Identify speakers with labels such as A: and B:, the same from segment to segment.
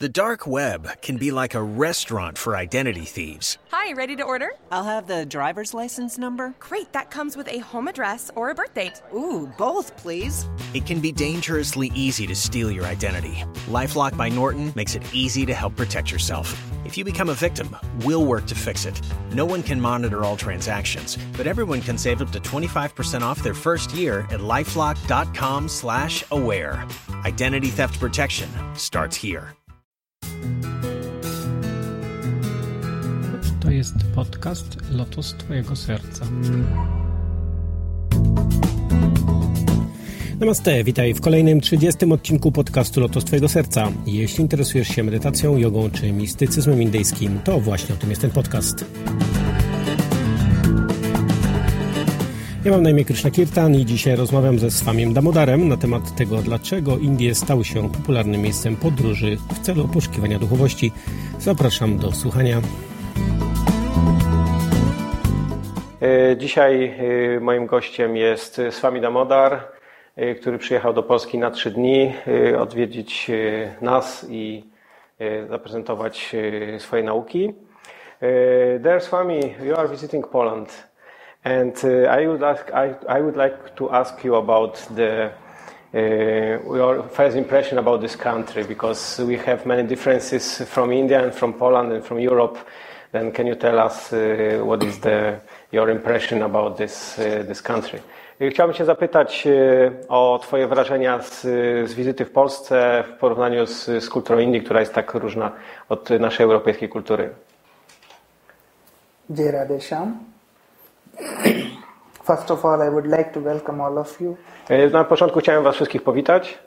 A: The dark web can be like a restaurant for identity thieves.
B: Hi, ready to order?
C: I'll have the driver's license number.
B: Great, that comes with a home address or a birth date.
C: Ooh, both, please.
A: It can be dangerously easy to steal your identity. Lifelock by Norton makes it easy to help protect yourself. If you become a victim, we'll work to fix it. No one can monitor all transactions, but everyone can save up to 25% off their first year at lifelock.com/aware. Identity theft protection starts here.
D: To jest podcast Lotus Twojego Serca.
E: Namaste, witaj w kolejnym 30 odcinku podcastu Lotos Twojego Serca. Jeśli interesujesz się medytacją, jogą czy mistycyzmem indyjskim, to właśnie o tym jest ten podcast. Ja mam na imię Krishna Kirtan i dzisiaj rozmawiam ze Swamiem Damodarem na temat tego, dlaczego Indie stały się popularnym miejscem podróży w celu poszukiwania duchowości. Zapraszam do słuchania.
F: E, Dzisiaj e, moim gościem jest Swami Damodar, e, który przyjechał do Polski na trzy dni e, odwiedzić nas i e, zaprezentować e, swoje nauki. Dear Swami, you are visiting Poland and uh, I would, ask, I, I would like to ask you about the uh, your first impression about this country because we have many differences from India and from Poland and from Europe. Then can you tell us uh, what is the your impression about this, uh, this country? Chciałbym się zapytać e, o Twoje wrażenia z, z wizyty w Polsce w porównaniu z, z kulturą Indii, która jest tak różna od naszej europejskiej kultury.
G: Jai Radesham. First of all, I would like to welcome all of you.
F: E, Na początku chciałem Was wszystkich powitać.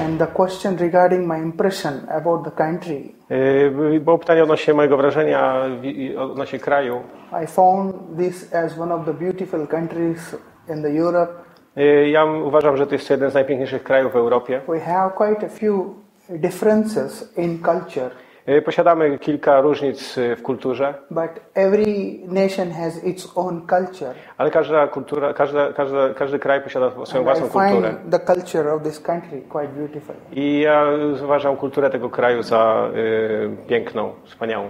G: And the question regarding my impression about the country,
F: Yy, Było pytanie odnośnie mojego wrażenia wi- odnośnie kraju.
G: I found this as one of the beautiful countries in the Europe.
F: Yy, Ja m- uważam, że to jest jeden z najpiękniejszych krajów w Europie.
G: We have quite a few differences in culture,
F: Yy, Posiadamy kilka różnic yy, w kulturze,
G: but every nation has its own culture.
F: ale każda kultura, każda, każda, każdy kraj posiada swoją
G: And I
F: własną kulturę.
G: find the culture of this country quite beautiful.
F: I ja uważam kulturę tego kraju za yy, piękną, wspaniałą.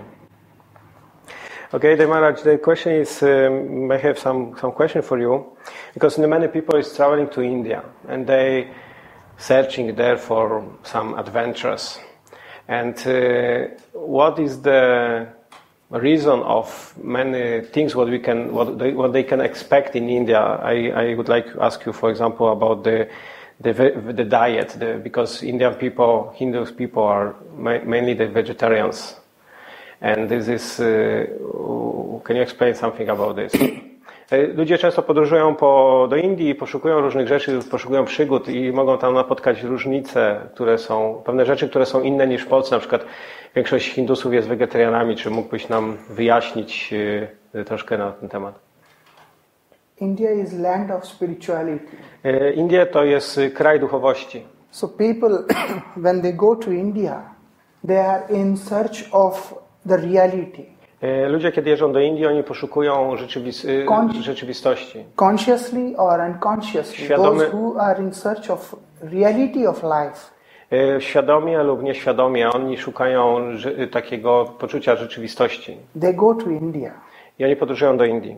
F: Okay, Demaraj, the question is, um, I have some, some question for you, because many people is traveling to India and they searching there for some adventures. And uh, what is the reason of many things what we can what they, what they can expect in India? I, I would like to ask you, for example, about the the, ve- the diet, the, because Indian people, Hindu people are ma- mainly the vegetarians. And this is, uh, can you explain something about this? E, Ludzie często podróżują po, do Indii i poszukują różnych rzeczy, poszukują przygód i mogą tam napotkać różnice, które są, pewne rzeczy, które są inne niż w Polsce. Na przykład większość Hindusów jest wegetarianami. Czy mógłbyś nam wyjaśnić e, troszkę na ten temat?
G: India is land of spirituality.
F: E, Indie to jest e, kraj duchowości.
G: So people, when they go to India, they are in search of the reality.
F: E, Ludzie, kiedy jeżdżą do Indii, oni poszukują rzeczywis- e,
G: Koń-
F: rzeczywistości.
G: Consciously or unconsciously,
F: Świadomy-
G: those who are in search of reality of life,
F: E, Świadomie lub nieświadomie, oni szukają ży- takiego poczucia rzeczywistości.
G: they go to India.
F: I oni podróżują do Indii.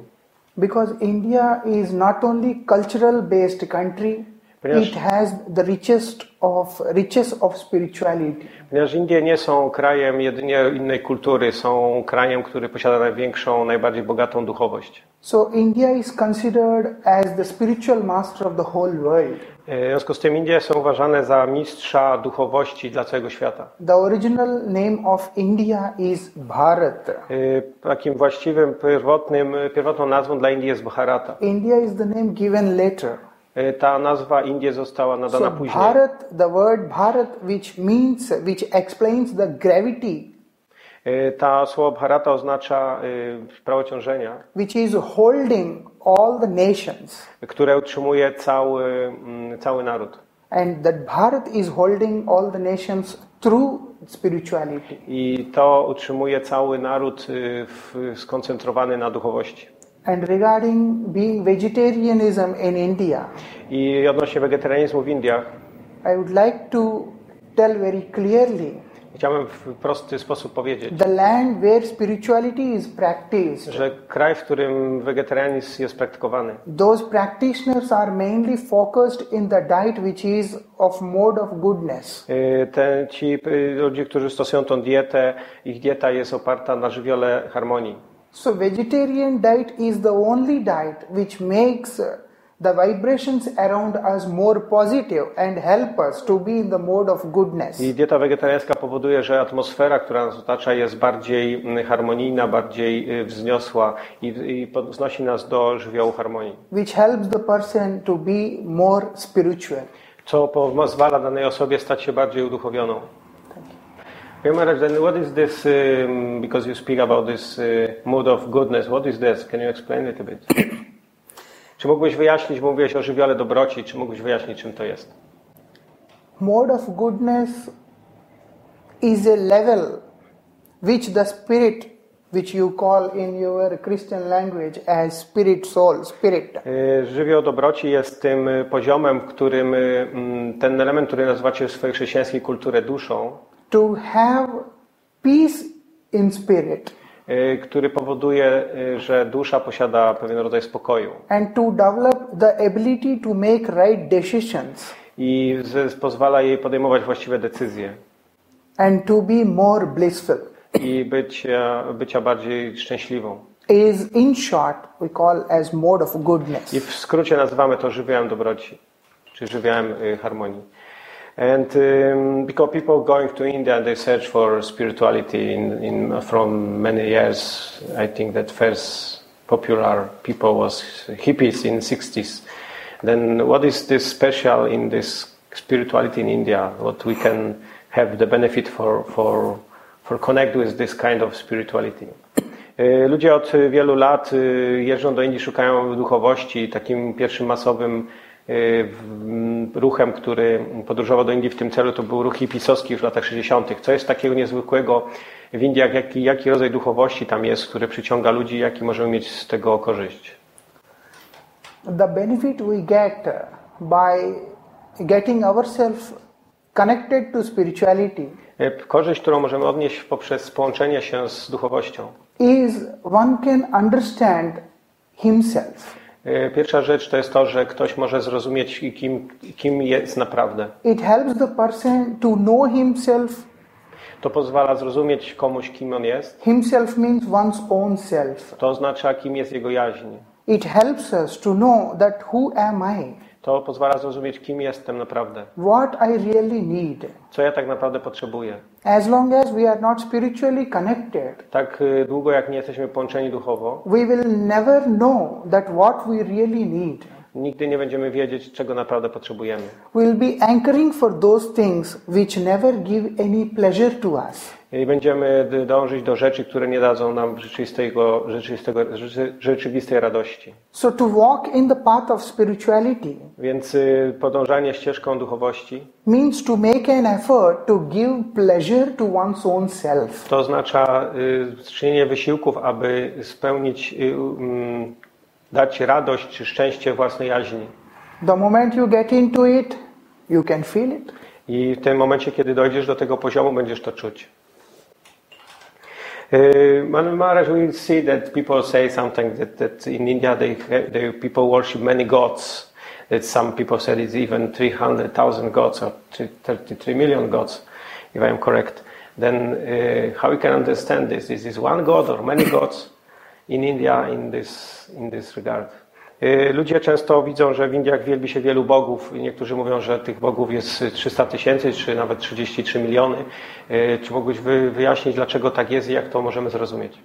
G: Because India is not only cultural based country,
F: Ponieważ-
G: it has the richest of riches of spirituality.
F: Ponieważ Indie nie są krajem jedynie innej kultury, są krajem, który posiada największą, najbardziej bogatą duchowość.
G: So India is considered as the spiritual master of the whole world.
F: E, W związku z tym Indie są uważane za mistrza duchowości dla całego świata.
G: The original name of India is Bharat.
F: E, Takim właściwym, pierwotnym, pierwotną nazwą dla Indii jest Bharata.
G: India is the name given later.
F: E, Ta nazwa Indie została
G: So
F: nadana później.
G: Bharat, the word Bharat, which means, which explains the gravity,
F: E, Ta słowo Bharata oznacza e, prawo ciążenia.
G: which is holding all the nations,
F: które utrzymuje cały, mm, cały naród.
G: and that Bharat is holding all the nations through spirituality.
F: I to utrzymuje cały naród y, w, skoncentrowany na duchowości.
G: And regarding being vegetarianism in India,
F: I odnośnie wegetarianizmu w Indiach,
G: I would like to tell very clearly
F: Chciałbym w prosty sposób powiedzieć,
G: The land where spirituality is practiced,
F: że kraj, w którym wegetarianizm jest praktykowany,
G: those practitioners are mainly focused in the diet which is of mode of goodness.
F: y, te, ci y, ludzie, którzy stosują tą dietę, ich dieta jest oparta na żywiole harmonii.
G: So vegetarian diet is the only diet which makes uh, the vibrations around us more positive and help us to be in the mode of goodness.
F: I dieta wegetariańska powoduje, że atmosfera, która nas otacza, jest bardziej mm, harmonijna, bardziej y, wzniosła i, i podnosi nas do żywiołu harmonii,
G: which helps the person to be more spiritual.
F: co pozwala danej osobie stać się bardziej uduchowioną. Hey Maharaj, then what is this, um, because you speak about this uh, mood of goodness, what is this? Can you explain a little bit? czy mógłbyś wyjaśnić, bo mówiłeś o żywiole dobroci, czy mógłbyś wyjaśnić, czym to jest?
G: Mode of goodness is a level which the spirit, which you call in your Christian language as spirit, soul, spirit,
F: Y, Żywioł dobroci jest tym y, poziomem, w którym y, mm, ten element, który nazywacie w swojej chrześcijańskiej kulturze duszą,
G: to have peace in spirit
F: y, który powoduje, y, że dusza posiada pewien rodzaj spokoju.
G: and to develop the ability to make right decisions
F: i z- pozwala jej podejmować właściwe decyzje
G: and to be more blissful
F: i być, e, bycia bardziej szczęśliwą.
G: is in short we call as mode of goodness.
F: I w skrócie nazywamy to żywiołem dobroci, czy żywiołem y, harmonii. And um, because people going to India and they search for spirituality in, in, from many years, I think that first popular people was hippies in 60s. Then what is this special in this spirituality in India? What we can have the benefit for, for, for connect with this kind of spirituality? Y, Ludzie od y, wielu lat y, jeżdżą do Indii, szukają duchowości. i Takim pierwszym masowym y, w- m, ruchem, który podróżował do Indii w tym celu, to był ruch hipisowski w latach 60. Co jest takiego niezwykłego w Indiach? Jaki, jaki rodzaj duchowości tam jest, który przyciąga ludzi? Jaki możemy mieć z tego korzyść?
G: the benefit we get uh, by getting ourselves connected to spirituality
F: Y, Korzyść, którą możemy odnieść poprzez połączenie się z duchowością.
G: is one can understand himself.
F: Y, Pierwsza rzecz to jest to, że ktoś może zrozumieć, kim, kim jest naprawdę.
G: It helps the person to know himself.
F: To pozwala zrozumieć komuś, kim on jest.
G: Himself means one's own self.
F: To oznacza, kim jest jego jaźń.
G: It helps us to know that who am I,
F: To pozwala zrozumieć, kim jestem naprawdę,
G: what I really need.
F: co ja tak naprawdę potrzebuję.
G: As long as we are not spiritually connected,
F: Tak y, długo, jak nie jesteśmy połączeni duchowo,
G: we will never know that what we really need.
F: nigdy nie będziemy wiedzieć, czego naprawdę potrzebujemy.
G: We will be anchoring for those things which never give any pleasure to us.
F: I będziemy d- dążyć do rzeczy, które nie dadzą nam rzeczywistego, rzeczywistego, rzeczy- rzeczywistej radości.
G: So, to walk in the path of spirituality
F: Więc y, podążanie ścieżką duchowości
G: means to make an effort to give pleasure to one's own self.
F: to oznacza y, czynienie wysiłków, aby spełnić, y, mm, dać radość czy szczęście własnej jaźni.
G: The moment you get into it, you can feel it.
F: I w tym momencie, kiedy dojdziesz do tego poziomu, będziesz to czuć. Uh, Maharaj, we see that people say something that, that in India they, ha- they people worship many gods. That some people said it's even 300,000 gods or th- 33 million gods, if I'm correct. Then uh, how we can understand this? Is this one god or many gods in India in this, in this regard? Y, Ludzie często widzą, że w Indiach wielbi się wielu bogów i niektórzy mówią, że tych bogów jest y, 300 tysięcy czy nawet 33 miliony. Y, Czy mógłbyś wy- wyjaśnić, dlaczego tak jest i jak to możemy zrozumieć?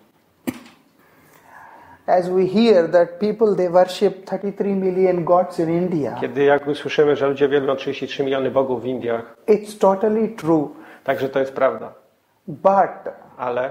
G: As we hear that people they worship 33 million gods in India,
F: Kiedy jak słyszymy, że ludzie wielbią 33 miliony bogów w Indiach,
G: it's totally true.
F: także to jest prawda,
G: But
F: ale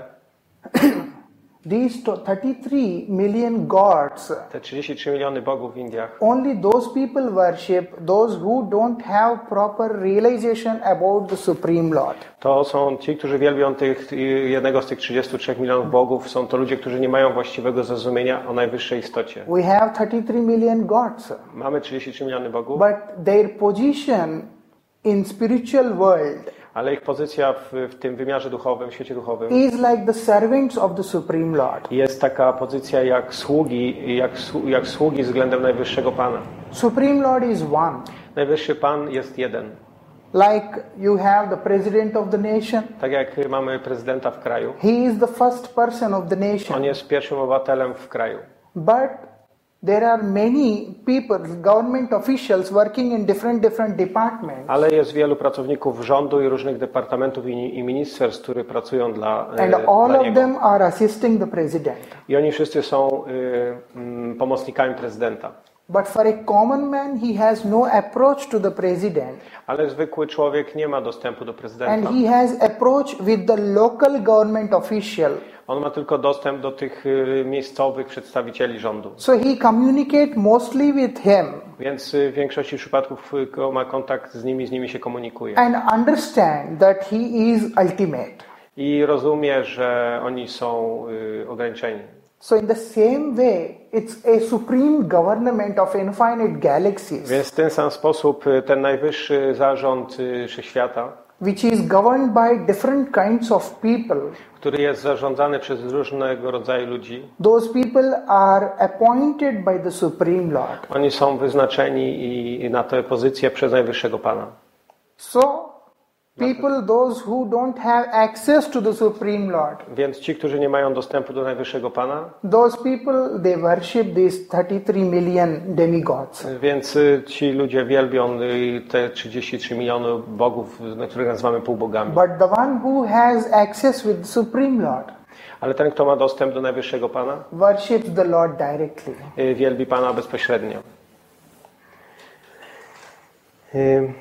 G: these to- 33 million gods
F: te 33 miliony bogów w Indiach
G: only those people worship those who don't have proper realization about the supreme lord
F: to są ci, którzy wielbią tych, y, jednego z tych 33 milionów bogów, są to ludzie, którzy nie mają właściwego zrozumienia o najwyższej istocie.
G: we have 33 million gods
F: Mamy 33 miliony bogów,
G: but their position in spiritual world
F: ale ich pozycja w, w tym wymiarze duchowym, w świecie duchowym
G: is like the servants of the Supreme Lord.
F: jest taka pozycja jak sługi, jak, słu- jak sługi względem Najwyższego Pana.
G: Supreme Lord is one.
F: Najwyższy Pan jest jeden.
G: Like you have the president of the nation,
F: Tak jak mamy prezydenta w kraju,
G: he is the first person of the
F: on
G: nation.
F: jest pierwszym obywatelem w kraju.
G: But there are many people, government officials working in different different departments.
F: Ale jest wielu pracowników rządu i różnych departamentów i, i ministerstw, którzy pracują dla, e,
G: And all
F: dla
G: of
F: niego.
G: them are assisting the president.
F: I oni wszyscy są e, mm, pomocnikami prezydenta.
G: But for a common man, he has no approach to the president.
F: Ale zwykły człowiek nie ma dostępu do
G: And
F: prezydenta.
G: he has approach with the local government official.
F: On ma tylko dostęp do tych e, miejscowych przedstawicieli rządu.
G: So he communicate mostly with him
F: Więc e, w większości przypadków e, ko- ma kontakt z nimi, z nimi się komunikuje.
G: and understand that he is ultimate.
F: I rozumie, że oni są e, ograniczeni.
G: So in the same way, it's a supreme government of infinite galaxies,
F: Więc w ten sam sposób e, ten najwyższy zarząd e, wszechświata,
G: which is governed by different kinds of people.
F: który jest zarządzany przez różnego rodzaju ludzi,
G: Those people are appointed by the Supreme Lord.
F: oni są wyznaczeni i- i na te pozycje przez najwyższego Pana.
G: So people, those who don't have access to the Supreme Lord,
F: Więc ci, którzy nie mają dostępu do najwyższego Pana,
G: those people, they worship these 33 million demigods.
F: Więc y, ci ludzie wielbią y, te 33 miliony bogów, y, na których nazywamy półbogami.
G: But the one who has access with the Supreme Lord
F: Ale ten, kto ma dostęp do Najwyższego Pana,
G: worships the Lord directly.
F: y, wielbi Pana bezpośrednio. Um,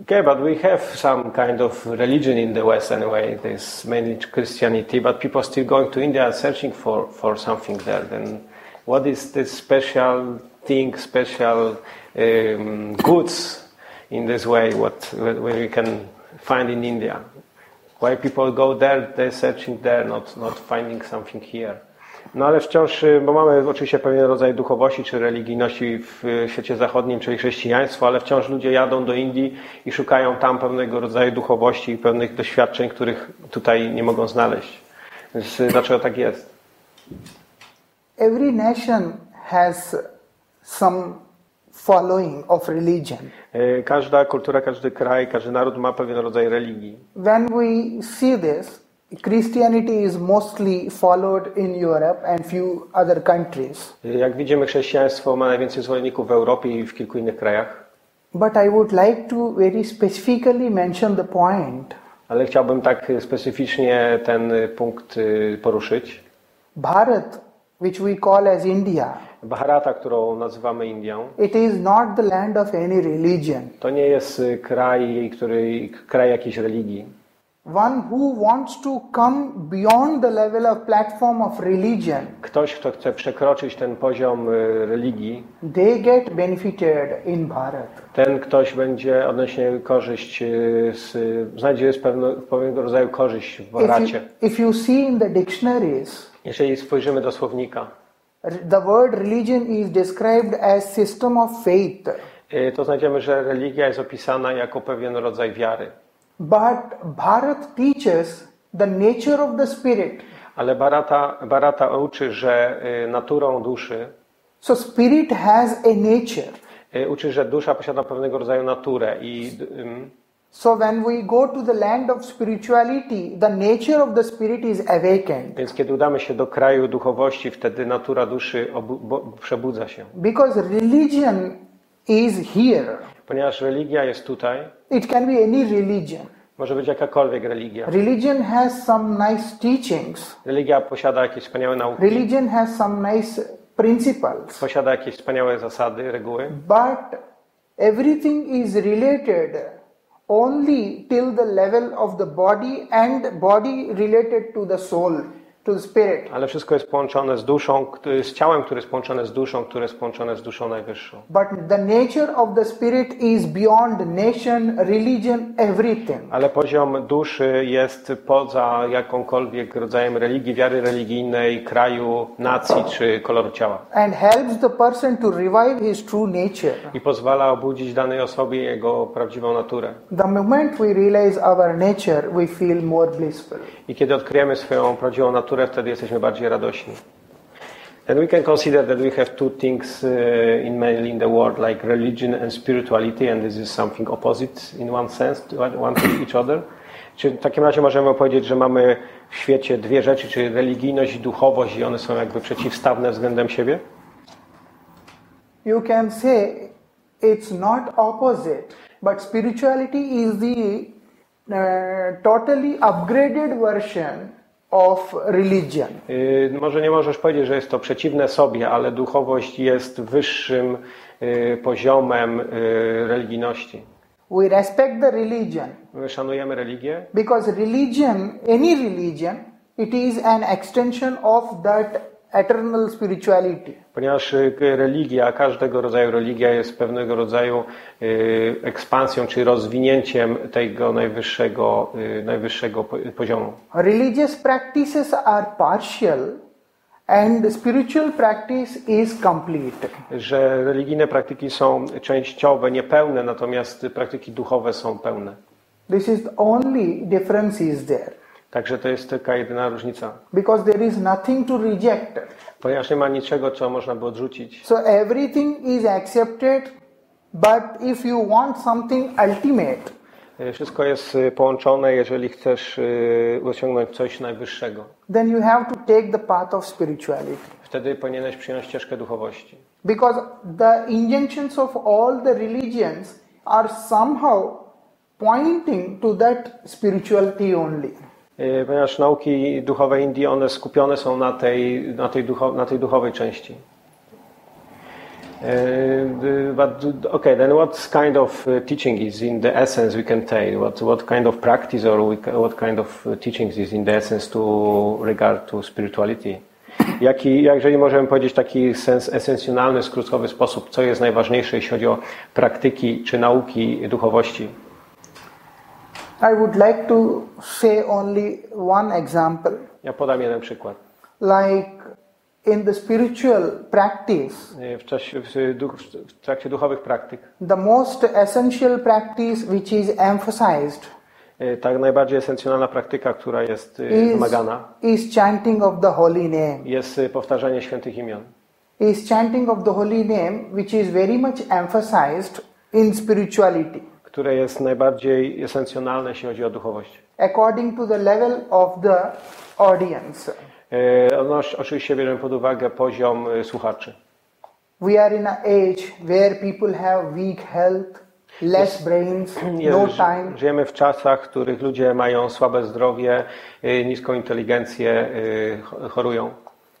F: Okay, but we have some kind of religion in the West anyway. There's mainly Christianity, but people are still going to India and searching for, for something there. Then what is this special thing, special um, goods in this way, what, what we can find in India? Why people go there, they're searching there, not, not finding something here. No ale wciąż, y, bo mamy oczywiście pewien rodzaj duchowości czy religijności w y, świecie zachodnim, czyli chrześcijaństwo, ale wciąż ludzie jadą do Indii i szukają tam pewnego rodzaju duchowości i pewnych doświadczeń, których tutaj nie mogą znaleźć. Więc y, dlaczego tak jest?
G: Every nation has some following of religion.
F: Y, Każda kultura, każdy kraj, każdy naród ma pewien rodzaj religii.
G: When we see this, Christianity is mostly followed in Europe and few other countries.
F: Y, Jak widzimy, chrześcijaństwo ma najwięcej zwolenników w Europie i w kilku innych krajach.
G: But I would like to very specifically mention the point.
F: Ale chciałbym tak y, specyficznie ten y, punkt y, poruszyć.
G: Bharat, which we call as India,
F: Bharata, którą nazywamy Indią,
G: it is not the land of any religion.
F: To nie jest y, kraj, który, kraj jakiejś religii.
G: One who wants to come beyond the level of platform of religion,
F: Ktoś, kto chce przekroczyć ten poziom y, religii,
G: they get benefited in Bharat.
F: ten ktoś będzie odnośnie korzyść, y, z, znajdzie z pewno, pewnego rodzaju korzyść w
G: If you,
F: Baracie.
G: if you see in the dictionaries,
F: Jeżeli spojrzymy do słownika,
G: r- the word religion is described as system of faith.
F: y, to znajdziemy, że religia jest opisana jako pewien rodzaj wiary.
G: But Bharat teaches the nature of the spirit.
F: Ale Barata, Barata uczy, że y, naturą duszy,
G: So spirit has a nature.
F: y, uczy, że dusza posiada pewnego rodzaju naturę i y, ym,
G: So when we go to the land of spirituality, the nature of the spirit is awakened.
F: Więc kiedy udamy się do kraju duchowości, wtedy natura duszy obu- bo- przebudza się.
G: Because religion is here.
F: Ponieważ religia jest tutaj,
G: It can be any religion.
F: może być jakakolwiek religia.
G: Religion has some nice teachings.
F: Religia posiada jakieś wspaniałe nauki,
G: Religion has some nice principles.
F: posiada jakieś wspaniałe zasady, reguły,
G: But everything is related only till the level of the body and body related to the soul. to the spirit.
F: Ale wszystko jest połączone z duszą, który- z ciałem, które jest połączone z duszą, które jest połączone z duszą najwyższą.
G: But the nature of the spirit is beyond nation, religion, everything.
F: Ale poziom duszy jest poza jakąkolwiek rodzajem religii, wiary religijnej, kraju, nacji czy koloru ciała.
G: And helps the person to revive his true nature.
F: I pozwala obudzić danej osobie jego prawdziwą naturę.
G: The moment we realize our nature, we feel more blissful.
F: I kiedy odkryjemy swoją prawdziwą naturę, wtedy jesteśmy bardziej radośni. And we can consider that we have two things uh, in mainly in the world, like religion and spirituality, and this is something opposite in one sense, to one to each other. Czy w takim razie możemy powiedzieć, że mamy w świecie dwie rzeczy, czyli religijność i duchowość, i one są jakby przeciwstawne względem siebie?
G: You can say it's not opposite, but spirituality is the uh, totally upgraded version of religion.
F: Yy, Może nie możesz powiedzieć, że jest to przeciwne sobie, ale duchowość jest wyższym yy, poziomem yy, religijności.
G: We respect the religion
F: My szanujemy religię,
G: because religion, any religion, it is an extension of that eternal spirituality.
F: Ponieważ y, k- religia, każdego rodzaju religia jest pewnego rodzaju y, ekspansją czy rozwinięciem tego najwyższego, y, najwyższego po- poziomu.
G: Religious practices are partial and spiritual practice is complete.
F: Że religijne praktyki są częściowe, niepełne, natomiast praktyki duchowe są pełne.
G: This is the only difference is there
F: Także to jest taka jedyna różnica.
G: because there is nothing to reject.
F: Ponieważ nie ma niczego, co można by odrzucić.
G: So everything is accepted but if you want something ultimate
F: Y, Wszystko jest y, połączone, jeżeli chcesz y, osiągnąć coś najwyższego.
G: then you have to take the path of spirituality.
F: Wtedy powinieneś przyjąć ścieżkę duchowości.
G: because the injunctions of all the religions are somehow pointing to that spirituality only
F: Yy, Ponieważ nauki duchowe Indii, one skupione są na tej, na tej, ducho, na tej duchowej części. Yy, yy, But okay, then what kind of uh, teaching is in the essence we can take? What, what kind of practice or we, ca- what kind of uh, teachings is in the essence to regard to spirituality? Jaki, jak- jeżeli możemy powiedzieć taki sens esencjonalny, skrótowy sposób, co jest najważniejsze, jeśli chodzi o praktyki czy nauki duchowości?
G: i would like to say only one example
F: Ja podam jeden przykład.
G: like in the spiritual practice
F: E, w, czasie, w, duch- w trakcie duchowych praktyk.
G: the most essential practice which is emphasized
F: Y, Tak najbardziej esencjonalna praktyka, która jest y,
G: is,
F: wymagana,
G: is chanting of the holy name
F: jest y, powtarzanie świętych imion.
G: is chanting of the holy name which is very much emphasized in spirituality
F: Które jest najbardziej esencjonalne, jeśli chodzi o duchowość.
G: according to the level of the audience.
F: Y, No, oczywiście bierzemy pod uwagę poziom y, słuchaczy.
G: We are in an age where people have weak health, less brains, no
F: Jest-
G: time.
F: Żyjemy w czasach, w których ludzie mają słabe zdrowie, y, niską inteligencję, y, cho- chorują.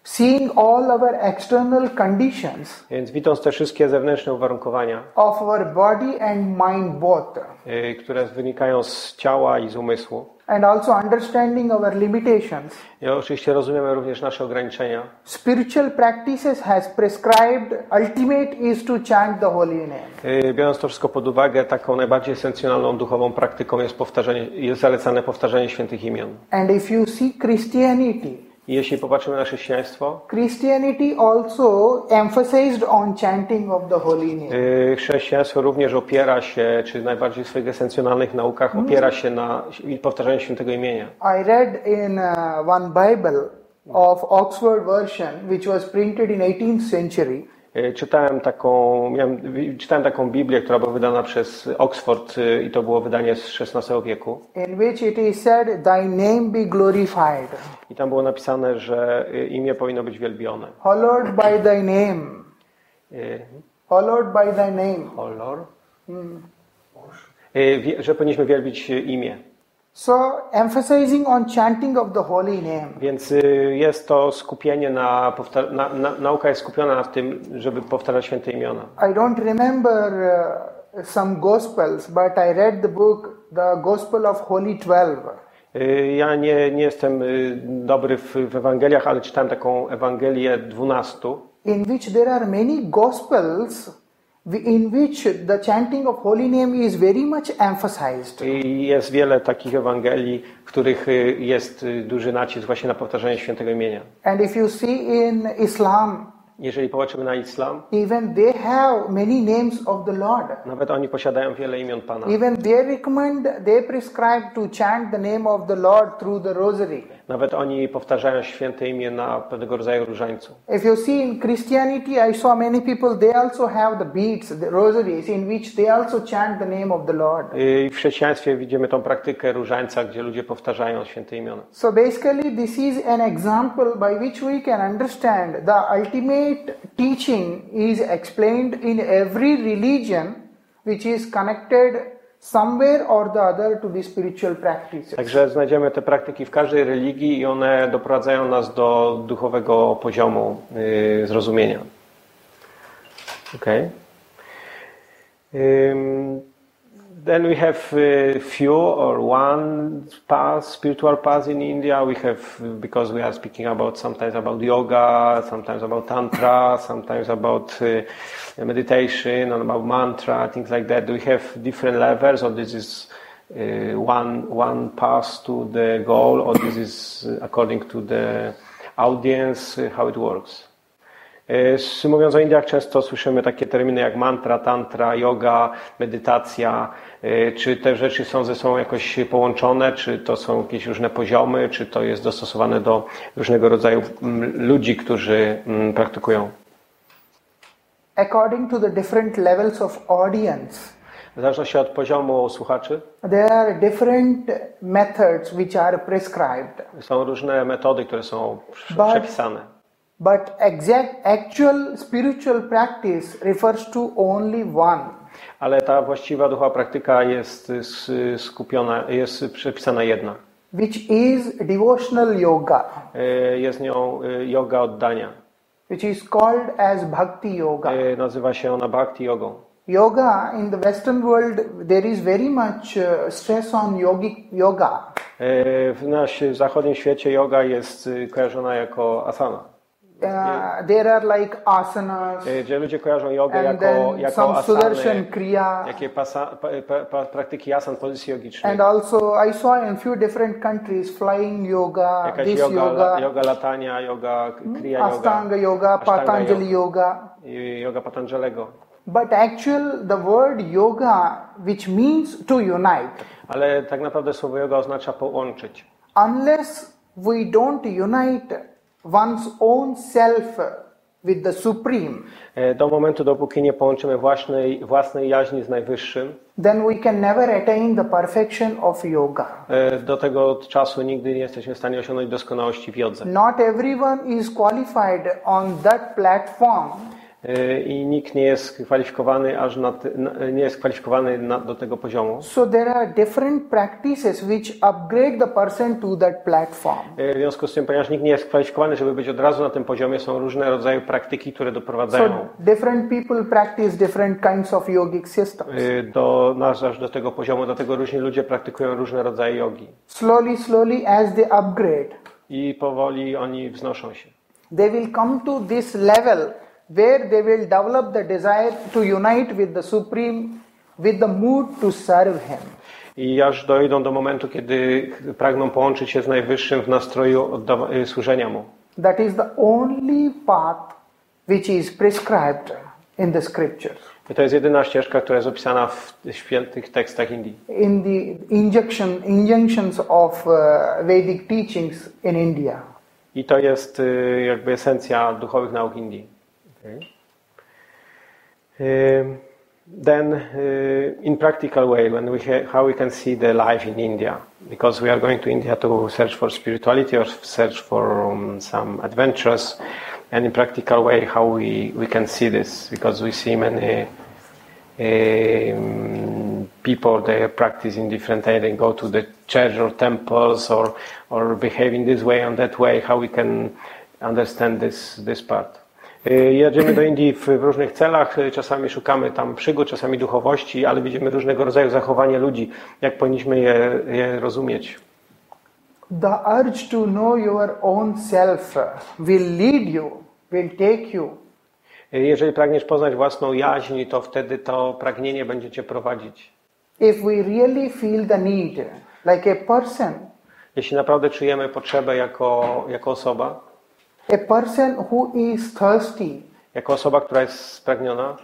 G: Seeing all our external conditions
F: Więc widząc te wszystkie zewnętrzne uwarunkowania,
G: of our body and mind both,
F: y, które wynikają z ciała i z umysłu,
G: and also understanding our limitations,
F: Ja oczywiście rozumiemy również nasze ograniczenia.
G: spiritual practices has prescribed ultimate is to chant the holy name.
F: Yy, Biorąc to wszystko pod uwagę, taką najbardziej esencjonalną duchową praktyką jest, powtarzanie, jest zalecane powtarzanie świętych imion.
G: And if you see Christianity,
F: I jeśli popatrzymy na chrześcijaństwo,
G: Christianity also emphasized on chanting of the holy name.
F: yy, chrześcijaństwo również opiera się, czy najbardziej w swoich esencjonalnych naukach opiera się na powtarzaniu świętego imienia.
G: I read in uh, one Bible of Oxford version, which was printed in 18th century,
F: Yy, Czytałem taką, miałem, wi- czytałem taką Biblię, która była wydana przez Oxford yy, i to było wydanie z XVI wieku.
G: in which it is said, "Thy name be glorified,
F: I tam było napisane, że yy, imię powinno być wielbione.
G: hallowed by Thy name,
F: Yy,
G: hallowed by Thy name."
F: Kolor. Y, wie- Że powinniśmy wielbić y, imię.
G: So, emphasizing on chanting of the holy name.
F: Więc y, jest to skupienie na, powta- na, na. Nauka jest skupiona na tym, żeby powtarzać święte imiona.
G: I don't remember uh, some gospels, but I read the book, the Gospel of Holy Twelve.
F: Y, Ja nie, nie jestem y, dobry w, w Ewangeliach, ale czytałem taką Ewangelię 12.
G: in which there are many gospels wi- in which the chanting of holy name is very much emphasized
F: I jest wiele takich Ewangelii, w których y, jest y, duży nacisk właśnie na powtarzanie świętego imienia.
G: and if you see in islam
F: Jeżeli popatrzymy na islam,
G: even they have many names of the lord
F: nawet oni posiadają wiele imion Pana.
G: even they recommend they prescribe to chant the name of the lord through the rosary
F: Nawet oni powtarzają święte imię na pewnego rodzaju różańcu.
G: if you see in christianity i saw many people they also have the beads the rosaries in which they also chant the name of the lord
F: Y, W chrześcijaństwie widzimy tą praktykę różańca, gdzie ludzie powtarzają święte imiona.
G: So basically, this is an example by which we can understand the ultimate teaching is explained in every religion which is connected somewhere or the other to the spiritual practices.
F: Także znajdziemy te praktyki w każdej religii i one doprowadzają nas do duchowego poziomu y, zrozumienia. Okay. Ym, then we have uh, few or one path, spiritual path in India. We have because we are speaking about sometimes about yoga, sometimes about tantra, sometimes about uh, meditation and about mantra, things like that. We have different levels, or this is uh, one one path to the goal, or this is uh, according to the audience uh, how it works. E, s- Mówiąc o Indiach, często słyszymy takie terminy jak mantra, tantra, yoga, medytacja. E, Czy te rzeczy są ze sobą jakoś połączone? Czy to są jakieś różne poziomy? Czy to jest dostosowane do różnego rodzaju mm, ludzi, którzy mm, praktykują?
G: According to the different levels of audience,
F: W zależności od poziomu słuchaczy
G: there are different methods which are prescribed.
F: są różne metody, które są przy-
G: Bardzo-
F: przepisane.
G: But exact actual spiritual practice refers to only one.
F: Ale ta właściwa duchowa praktyka jest y, s- skupiona, jest przepisana jedna.
G: which is devotional yoga,
F: E, Jest nią y, yoga oddania.
G: which is called as bhakti yoga.
F: E, Nazywa się ona bhakti jogą.
G: Yoga in the Western world, there is very much uh, stress on yogic yoga.
F: E, W naszym zachodnim świecie yoga jest y, kojarzona jako asana.
G: Uh, there are like asanas
F: E, Gdzie ludzie kojarzą jogę
G: and
F: jako,
G: then
F: jako
G: some
F: asany,
G: sudarshan kriya.
F: jakie pasa, pa, pa, pa, praktyki asan pozycji jogicznej.
G: And uh, also, I saw in few different countries flying yoga,
F: Jakaś
G: this
F: yoga, yoga.
G: yoga,
F: yoga latania, yoga kriya
G: Astanga
F: yoga,
G: yoga, Patanjali
F: yoga,
G: yoga.
F: i yoga Patanjalego.
G: But actual, the word yoga, which means to unite,
F: Ale tak naprawdę słowo yoga oznacza połączyć.
G: unless we don't unite one's own self with the supreme
F: E, Do momentu, dopóki nie połączymy własnej, własnej jaźni z Najwyższym,
G: then we can never attain the perfection of yoga
F: e, do tego czasu nigdy nie jesteśmy w stanie osiągnąć doskonałości w jodze.
G: not everyone is qualified on that platform
F: E, i nikt nie jest kwalifikowany aż na, ty- na- nie jest kwalifikowany na, do tego poziomu.
G: so there are different practices which upgrade the person to that platform
F: E, W związku z tym, ponieważ nikt nie jest kwalifikowany, żeby być od razu na tym poziomie, są różne rodzaje praktyki, które doprowadzają
G: so different people practice different kinds of yogic systems
F: e, do nas aż do tego poziomu, dlatego różni ludzie praktykują różne rodzaje jogi
G: slowly slowly as they upgrade
F: i powoli oni wznoszą się.
G: they will come to this level where they will develop the desire to unite with the Supreme with the mood to serve Him.
F: I aż dojdą do momentu, kiedy pragną połączyć się z Najwyższym w nastroju oddawa- e, służenia Mu.
G: That is the only path which is prescribed in the scriptures.
F: I to jest jedyna ścieżka, która jest opisana w świętych tekstach Indii.
G: In the injunction, injunctions of uh, Vedic teachings in India.
F: I to jest y, jakby esencja duchowych nauk Indii. Um, then uh, in practical way, when we ha- how we can see the life in India, because we are going to India to search for spirituality or search for um, some adventures, and in practical way how we, we can see this, because we see many um, people they practice in different way, they go to the church or temples or or behave in this way and that way, how we can understand this this part. Y, Jedziemy do Indii w, w różnych celach, y, czasami szukamy tam przygód, czasami duchowości, ale widzimy różnego rodzaju zachowanie ludzi, jak powinniśmy je, je rozumieć.
G: The urge to know your own self will lead you, will take you
F: E, Jeżeli pragniesz poznać własną jaźń, to wtedy to pragnienie będzie cię prowadzić.
G: If we really feel the need, like a person,
F: Jeśli naprawdę czujemy potrzebę jako, jako osoba,
G: a person who is thirsty,
F: jako osoba, która jest spragniona,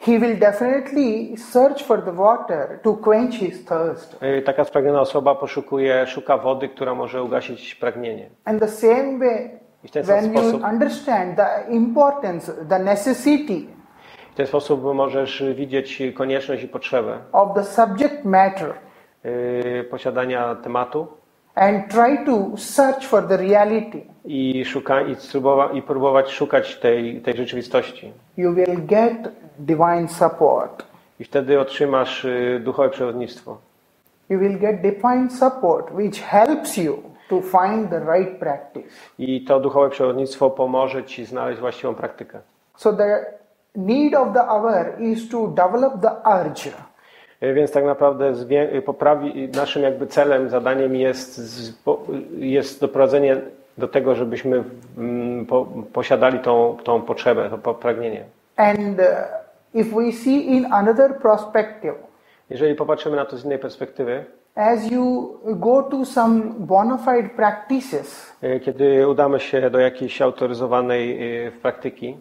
G: he will definitely search for the water to quench his thirst.
F: y, taka spragniona osoba poszukuje, szuka wody, która może ugasić pragnienie.
G: And the same way,
F: I w ten sam
G: when you
F: sposób,
G: understand the importance, the necessity
F: w ten sposób możesz widzieć konieczność i potrzebę
G: of the subject matter
F: y, posiadania tematu
G: and try to search for the reality,
F: i, szuka, i, spróbowa- i próbować szukać tej, tej rzeczywistości.
G: you will get divine support.
F: I wtedy otrzymasz y, duchowe przewodnictwo.
G: You will get divine support which helps you to find the right practice.
F: I to duchowe przewodnictwo pomoże Ci znaleźć właściwą praktykę.
G: So the need of the hour is to develop the urge.
F: Y, Więc tak naprawdę zwię- y, poprawi, y, naszym jakby celem, zadaniem jest, z- po- y, jest doprowadzenie do tego, żebyśmy mm, po, posiadali tą, tą potrzebę, to po- pragnienie.
G: And uh, if we see in another perspective,
F: Jeżeli popatrzymy na to z innej perspektywy,
G: as you go to some bona fide practices,
F: y, kiedy udamy się do jakiejś autoryzowanej y, praktyki,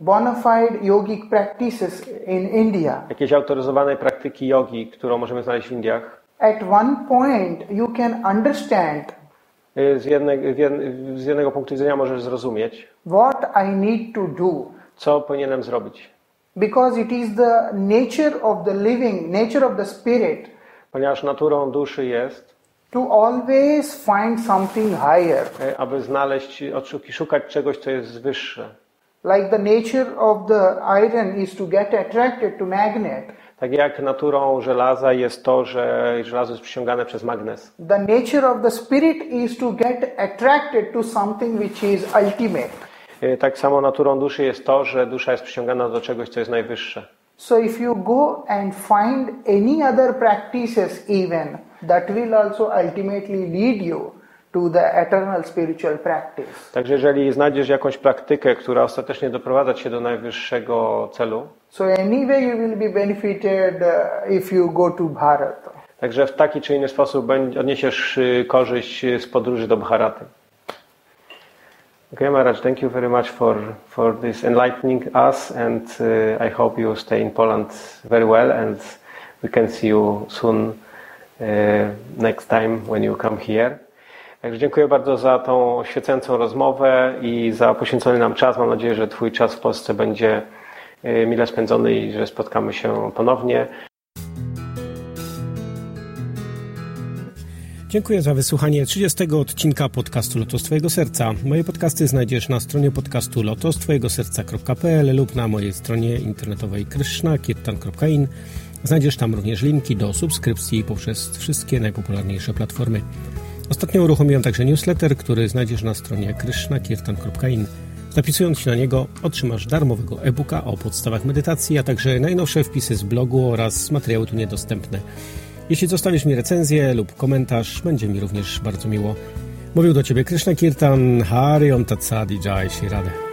G: bona fide yogic practices in India,
F: jakiejś autoryzowanej praktyki jogi, którą możemy znaleźć w Indiach,
G: at one point you can understand
F: y, z, jednej, w jed- z jednego punktu widzenia możesz zrozumieć,
G: what I need to do
F: co powinienem zrobić.
G: because it is the nature of the living, nature of the spirit
F: Ponieważ naturą duszy jest,
G: to always find something higher.
F: e, aby znaleźć, odszuki- szukać czegoś, co jest wyższe.
G: Like the nature of the iron is to get attracted to magnet,
F: Tak jak naturą żelaza jest to, że żelazo jest przyciągane przez magnes.
G: the nature of the spirit is to get attracted to something which is ultimate.
F: E, Tak samo naturą duszy jest to, że dusza jest przyciągana do czegoś, co jest najwyższe.
G: So if you go and find any other practices even that will also ultimately lead you to the eternal spiritual practice.
F: Także jeżeli znajdziesz jakąś praktykę, która ostatecznie doprowadza cię do najwyższego celu,
G: So anyway you will be benefited uh, if you go to Bharat.
F: także w taki czy inny sposób będ- odniesiesz y, korzyść y, z podróży do Bharaty. Okay, Maharaj, thank you very much for, for this enlightening us and uh, I hope you stay in Poland very well and we can see you soon uh, next time when you come here. Także dziękuję bardzo za tą oświecającą rozmowę i za poświęcony nam czas. Mam nadzieję, że Twój czas w Polsce będzie y, mile spędzony i że spotkamy się ponownie.
E: Dziękuję za wysłuchanie 30 odcinka podcastu Lotos Twojego Serca. Moje podcasty znajdziesz na stronie podcastu lotostwojegoserca.pl lub na mojej stronie internetowej krishnakirtan.in. Znajdziesz tam również linki do subskrypcji poprzez wszystkie najpopularniejsze platformy. Ostatnio uruchomiłem także newsletter, który znajdziesz na stronie krishnakirtan.in. Zapisując się na niego otrzymasz darmowego e-booka o podstawach medytacji, a także najnowsze wpisy z blogu oraz materiały tu niedostępne. Jeśli zostawisz mi recenzję lub komentarz, będzie mi również bardzo miło. Mówił do Ciebie Krishna Kirtan, Hariom Tatsadi Jai Shri Radhe.